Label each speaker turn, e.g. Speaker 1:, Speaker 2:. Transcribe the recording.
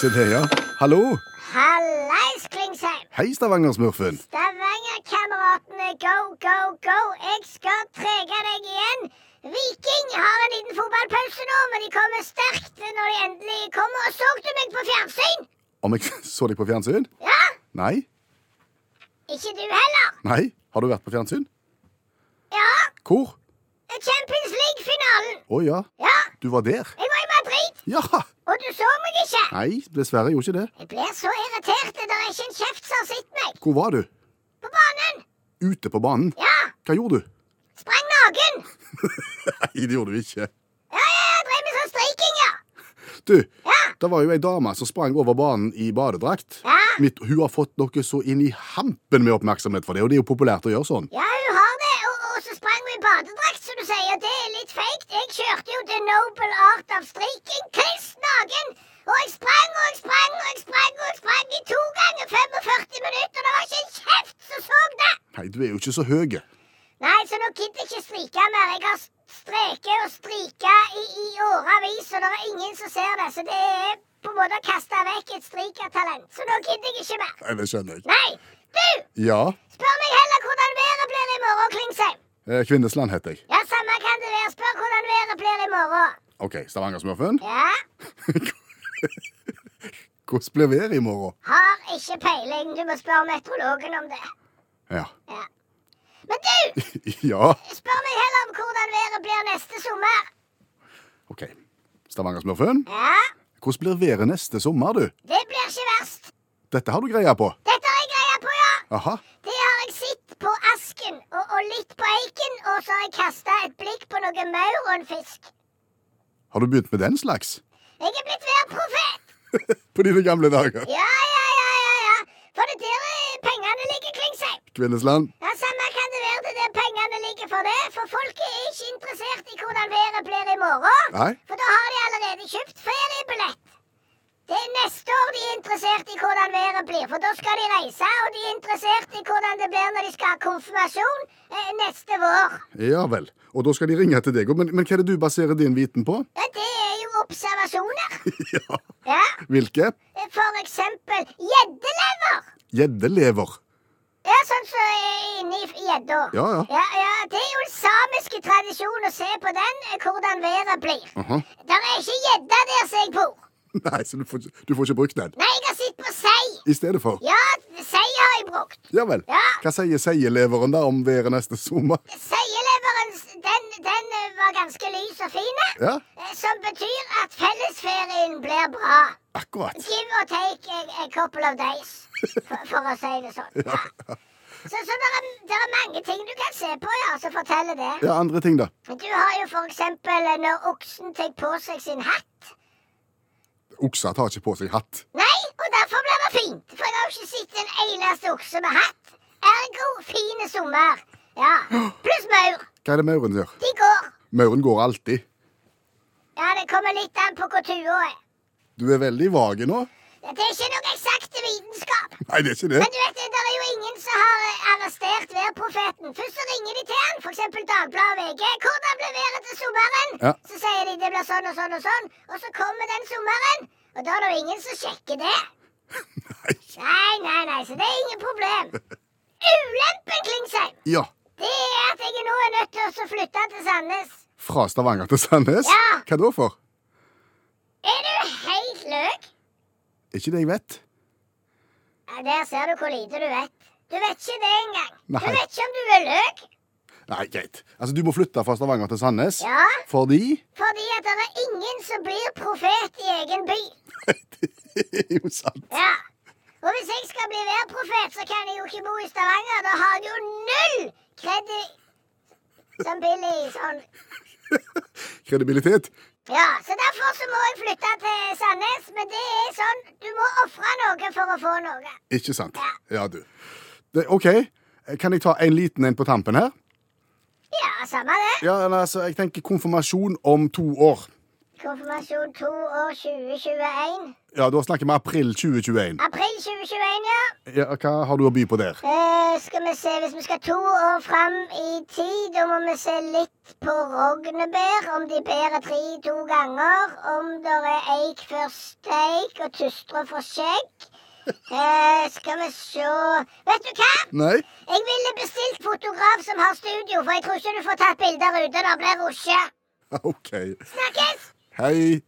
Speaker 1: Se det, ja. Hallo.
Speaker 2: Hallais, Klingsheim!
Speaker 1: Hei, Stavanger-smurfen.
Speaker 2: Stavanger-kameratene, go, go, go! Jeg skal trege deg igjen. Viking har en liten fotballpause nå, men de kommer sterkt når de endelig kommer. Så du meg på fjernsyn?
Speaker 1: Om jeg så deg på fjernsyn?
Speaker 2: Ja?
Speaker 1: Nei.
Speaker 2: Ikke du heller?
Speaker 1: Nei. Har du vært på fjernsyn?
Speaker 2: Ja?
Speaker 1: Hvor?
Speaker 2: Champions League-finalen.
Speaker 1: Å ja,
Speaker 2: Ja,
Speaker 1: du var der.
Speaker 2: jeg var i Madrid,
Speaker 1: Ja.
Speaker 2: og du så meg ikke.
Speaker 1: Nei, dessverre gjorde ikke det.
Speaker 2: Jeg blir så irritert. Det er ikke en kjeft som har sett meg.
Speaker 1: Hvor var du?
Speaker 2: På banen.
Speaker 1: Ute på banen.
Speaker 2: Ja.
Speaker 1: Hva gjorde du?
Speaker 2: Sprang naken.
Speaker 1: Nei, det gjorde du ikke.
Speaker 2: Ja, ja, ja. Drev med sånn striking, ja.
Speaker 1: Du,
Speaker 2: Ja.
Speaker 1: det var jo ei dame som sprang over banen i badedrakt.
Speaker 2: Ja.
Speaker 1: Mitt, hun har fått noe så inn i hampen med oppmerksomhet for det, og det er jo populært å gjøre sånn.
Speaker 2: Ja, hun har det, og, og så sprang hun i badedrakt, som du sier. Det er litt feigt. Jeg kjørte jo The Noble Art of Striking, kliss naken. Og jeg sprang og jeg sprang og jeg sprang og jeg sprang i to ganger 45 minutter. Det var ikke en kjeft som så det.
Speaker 1: Nei, du er jo ikke så høy.
Speaker 2: Nei, så nå gidder jeg ikke strike mer. Jeg har streket og strika i, i årevis, og det er ingen som ser det. Så det er på en måte å kaste vekk et strikertalent. Så nå gidder jeg ikke mer.
Speaker 1: Nei, det skjønner jeg.
Speaker 2: Nei, du!
Speaker 1: Ja.
Speaker 2: Spør meg heller hvordan været blir i morgen, Klingsheim.
Speaker 1: eh, Kvinnesland heter jeg.
Speaker 2: Ja, samme kan det være. Spør hvordan været blir i morgen.
Speaker 1: OK, Stavanger-smurfen.
Speaker 2: Ja,
Speaker 1: Hvordan blir været i morgen?
Speaker 2: har ikke peiling. Du må spørre meteorologen om det.
Speaker 1: Ja.
Speaker 2: Ja. Men du,
Speaker 1: ja.
Speaker 2: spør meg heller om hvordan været blir neste sommer.
Speaker 1: OK. Stavanger-smurfen,
Speaker 2: Ja,
Speaker 1: hvordan blir været neste sommer, du?
Speaker 2: det blir ikke verst.
Speaker 1: Dette har du greia på.
Speaker 2: Dette har jeg greia på, ja.
Speaker 1: Aha.
Speaker 2: Det har jeg sett på asken og, og litt på eiken, og så har jeg kasta et blikk på noe maur og en fisk.
Speaker 1: Har du begynt med den slags?
Speaker 2: Jeg er blitt værprofet.
Speaker 1: På dine gamle dager.
Speaker 2: Ja, ja, ja, ja, ja. For det der eh, pengene ligger, Klingsheim.
Speaker 1: Kvinnesland.
Speaker 2: Ja, Samme kan det være det der pengene ligger for det, for folket er ikke interessert i hvordan været blir i morgen.
Speaker 1: Nei.
Speaker 2: For da har de allerede kjøpt feriebillett. Det er neste år de er interessert i hvordan været blir, for da skal de reise, og de er interessert i hvordan det blir når de skal ha konfirmasjon eh, neste vår.
Speaker 1: Ja vel. Og da skal de ringe til deg. Men, men hva er det du baserer din viten på?
Speaker 2: Ja, det er jo observasjoner.
Speaker 1: Ja.
Speaker 2: Ja,
Speaker 1: Hvilke?
Speaker 2: eh, for eksempel gjeddelever.
Speaker 1: Gjeddelever.
Speaker 2: Ja, sånn som eh, inni f- gjedda.
Speaker 1: Ja, ja.
Speaker 2: Ja, ja, det er jo en samiske tradisjon å se på den, eh, hvordan været blir.
Speaker 1: Aha.
Speaker 2: Der er ikke gjedda der som jeg bor.
Speaker 1: Nei, så du får, ikke- du får ikke brukt den.
Speaker 2: Nei, jeg har sett på sei.
Speaker 1: I stedet for.
Speaker 2: Ja, sei har jeg brukt.
Speaker 1: Ja vel.
Speaker 2: Ja.
Speaker 1: Hva sier seieleveren da om været neste sommer?
Speaker 2: Seieleveren, s- den, den eh, var ganske lys og fin. eh,
Speaker 1: Ja,
Speaker 2: eh, Som betyr at fellesferien blir bra.
Speaker 1: akkurat.
Speaker 2: Give or take a, a couple of days, for, for å si det sånn. Ja. Så, så det er, der er mange ting du kan se på, ja, som forteller det.
Speaker 1: Ja, andre ting, da.
Speaker 2: Du har jo for eksempel eh, når oksen tar på seg sin hatt.
Speaker 1: Okser tar ikke på seg hatt.
Speaker 2: Nei, og derfor blir det fint. For jeg har jo ikke sett en eneste okse med hatt. Ergo fine sommer. Ja. Pluss maur.
Speaker 1: Hva er det mauren gjør?
Speaker 2: De går.
Speaker 1: Mauren går alltid.
Speaker 2: Ja, det kommer litt an på hvor tua er.
Speaker 1: Du er veldig vage nå.
Speaker 2: Det er ikke noe eksakt vitenskap.
Speaker 1: Nei, det er ikke det.
Speaker 2: Men du vet, det er jo ingen som har eh, arrestert værprofeten. Først så ringer de til han, f.eks. Dagbladet og VG. 'Hvordan blir været til sommeren?'
Speaker 1: Ja.
Speaker 2: Så sier de det blir sånn og sånn og sånn. Og så kommer den sommeren, og da er det jo ingen som sjekker det.
Speaker 1: Nei.
Speaker 2: Nei, nei, nei, så det er ingen problem. Ulempen, Klingsheim,
Speaker 1: Ja.
Speaker 2: det er at jeg nå er nødt til å flytte til Sandnes.
Speaker 1: Fra Stavanger til Sandnes?
Speaker 2: Ja.
Speaker 1: Hva da for?
Speaker 2: Er du helt løk?
Speaker 1: Ikke det jeg vet.
Speaker 2: Ja, Der ser du hvor lite du vet. Du vet ikke det engang.
Speaker 1: Nei.
Speaker 2: Du vet ikke om du er løk.
Speaker 1: Nei, greit. Altså, Du må flytte fra Stavanger til Sandnes
Speaker 2: Ja,
Speaker 1: fordi
Speaker 2: fordi at det er ingen som blir profet i egen by.
Speaker 1: Det er jo sant.
Speaker 2: Ja. Og hvis jeg skal bli værprofet, så kan jeg jo ikke bo i Stavanger. Da har jeg jo null kredi... Som Billy sånn.
Speaker 1: Kredibilitet.
Speaker 2: Ja, så derfor så må jeg flytte til Sandnes. Men det er sånn, du må ofre noe for å få noe.
Speaker 1: Ikke sant. Ja, du. Det, OK. Kan jeg ta en liten en på tampen her?
Speaker 2: Ja, samme det.
Speaker 1: Ja, eller, altså, Jeg tenker konfirmasjon om to år.
Speaker 2: Konfirmasjon 2 år 2021.
Speaker 1: Ja, Da snakker vi april 2021.
Speaker 2: April 2021, ja.
Speaker 1: Ja, Hva har du å by på der?
Speaker 2: Eh, skal vi se, Hvis vi skal to år fram i tid, da må vi se litt sjekk på rognebær om de bærer tre-to ganger. Om det er eik før steik og tustre for skjegg. Eh, skal vi sjå Vet du hva?
Speaker 1: Nei?
Speaker 2: Jeg ville bestilt fotograf som har studio, for jeg tror ikke du får tatt bilder uten det blir rusje.
Speaker 1: OK.
Speaker 2: Snakkes!
Speaker 1: Hei.